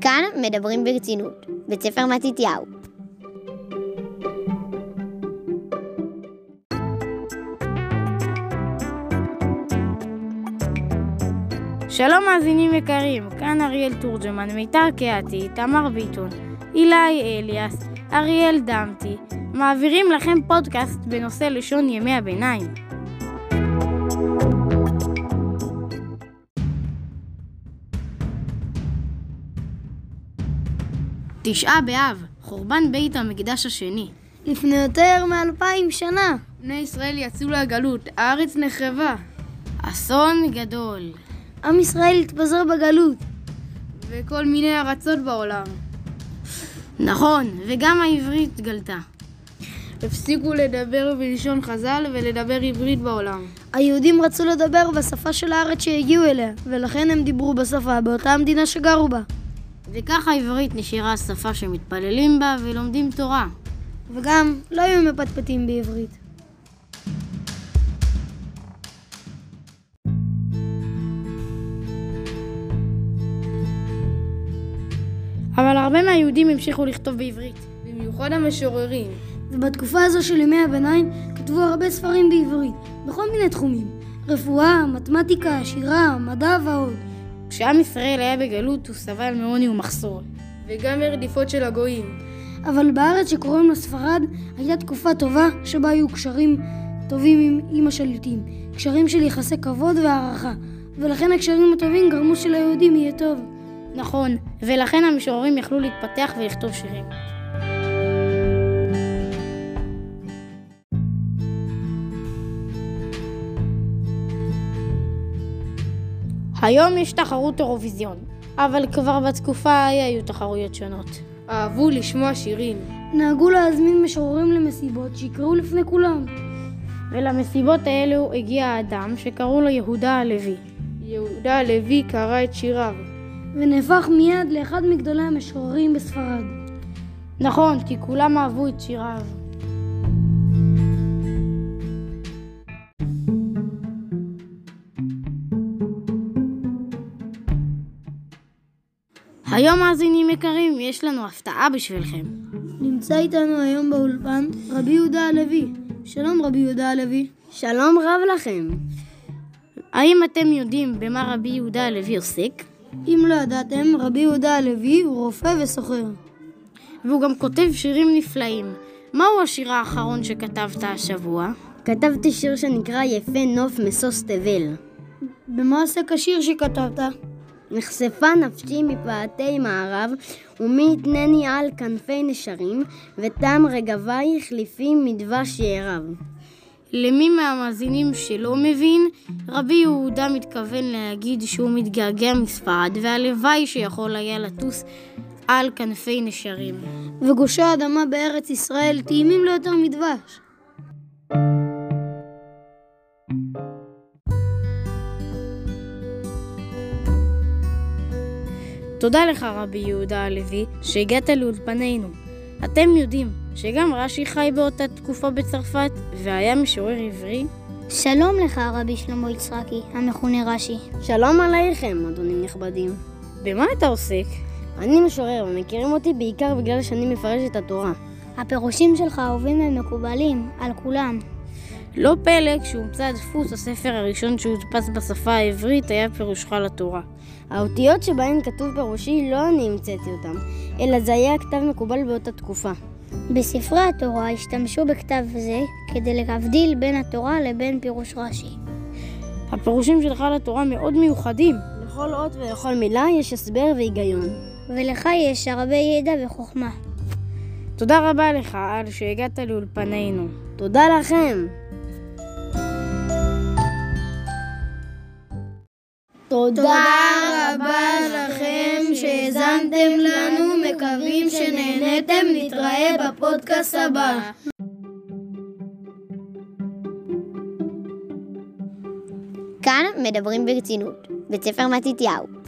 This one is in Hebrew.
כאן מדברים ברצינות, בית ספר מתתיהו. שלום מאזינים יקרים, כאן אריאל תורג'מן, מיתר קהתי, איתמר ביטון, אילי אליאס, אריאל דמתי, מעבירים לכם פודקאסט בנושא לשון ימי הביניים. תשעה באב, חורבן בית המקדש השני. לפני יותר מאלפיים שנה. בני ישראל יצאו לגלות, הארץ נחרבה. אסון גדול. עם ישראל התפזר בגלות. וכל מיני ארצות בעולם. נכון, וגם העברית גלתה. הפסיקו לדבר בלשון חז"ל ולדבר עברית בעולם. היהודים רצו לדבר בשפה של הארץ שהגיעו אליה, ולכן הם דיברו בשפה באותה המדינה שגרו בה. וכך העברית נשארה שפה שמתפללים בה ולומדים תורה. וגם לא היו מפטפטים בעברית. אבל הרבה מהיהודים המשיכו לכתוב בעברית. במיוחד המשוררים. ובתקופה הזו של ימי הביניים כתבו הרבה ספרים בעברית, בכל מיני תחומים. רפואה, מתמטיקה, שירה, מדע ועוד. כשעם ישראל היה בגלות הוא סבל מעוני ומחסור. וגם מרדיפות של הגויים. אבל בארץ שקוראים לה ספרד, הייתה תקופה טובה שבה היו קשרים טובים עם, עם השליטים. קשרים של יחסי כבוד והערכה. ולכן הקשרים הטובים גרמו שליהודים יהיה טוב. נכון, ולכן המשוררים יכלו להתפתח ולכתוב שירים. היום יש תחרות אירוויזיון, אבל כבר בתקופה ההיא היו תחרויות שונות. אהבו לשמוע שירים, נהגו להזמין משוררים למסיבות שיקראו לפני כולם. ולמסיבות האלו הגיע האדם שקראו לו יהודה הלוי. יהודה הלוי קרא את שיריו. ונהפך מיד לאחד מגדולי המשוררים בספרד. נכון, כי כולם אהבו את שיריו. היום מאזינים יקרים, יש לנו הפתעה בשבילכם. נמצא איתנו היום באולפן רבי יהודה הלוי. שלום רבי יהודה הלוי. שלום רב לכם. האם אתם יודעים במה רבי יהודה הלוי עוסק? אם לא ידעתם, רבי יהודה הלוי הוא רופא וסוחר. והוא גם כותב שירים נפלאים. מהו השיר האחרון שכתבת השבוע? כתבתי שיר שנקרא יפה נוף משוש תבל. במה עסק השיר שכתבת? נחשפה נפשי מפאתי מערב, ומי יתנני על כנפי נשרים, וטעם רגבי חליפים מדבש יערב. למי מהמאזינים שלא מבין, רבי יהודה מתכוון להגיד שהוא מתגעגע מספרד, והלוואי שיכול היה לטוס על כנפי נשרים. וגושי האדמה בארץ ישראל טעימים לו יותר מדבש. תודה לך, רבי יהודה הלוי, שהגעת לאולפנינו. אתם יודעים שגם רש"י חי באותה תקופה בצרפת, והיה משורר עברי? שלום לך, רבי שלמה יצחקי, המכונה רש"י. שלום עלייכם, אדונים נכבדים. במה אתה עוסק? אני משורר, ומכירים אותי בעיקר בגלל שאני מפרש את התורה. הפירושים שלך אהובים ומקובלים על כולם. לא פלא כשהומצא הדפוס, הספר הראשון שהודפס בשפה העברית היה פירושך לתורה. האותיות שבהן כתוב פירושי לא אני המצאתי אותם, אלא זה היה כתב מקובל באותה תקופה. בספרי התורה השתמשו בכתב זה כדי להבדיל בין התורה לבין פירוש רש"י. הפירושים שלך לתורה מאוד מיוחדים. לכל אות ולכל מילה יש הסבר והיגיון. ולך יש הרבה ידע וחוכמה. תודה רבה לך על שהגעת לאולפנינו. תודה לכם! תודה רבה לכם שהאזנתם לנו, מקווים שנהנתם, נתראה בפודקאסט הבא. כאן מדברים ברצינות, בית ספר מתתיהו.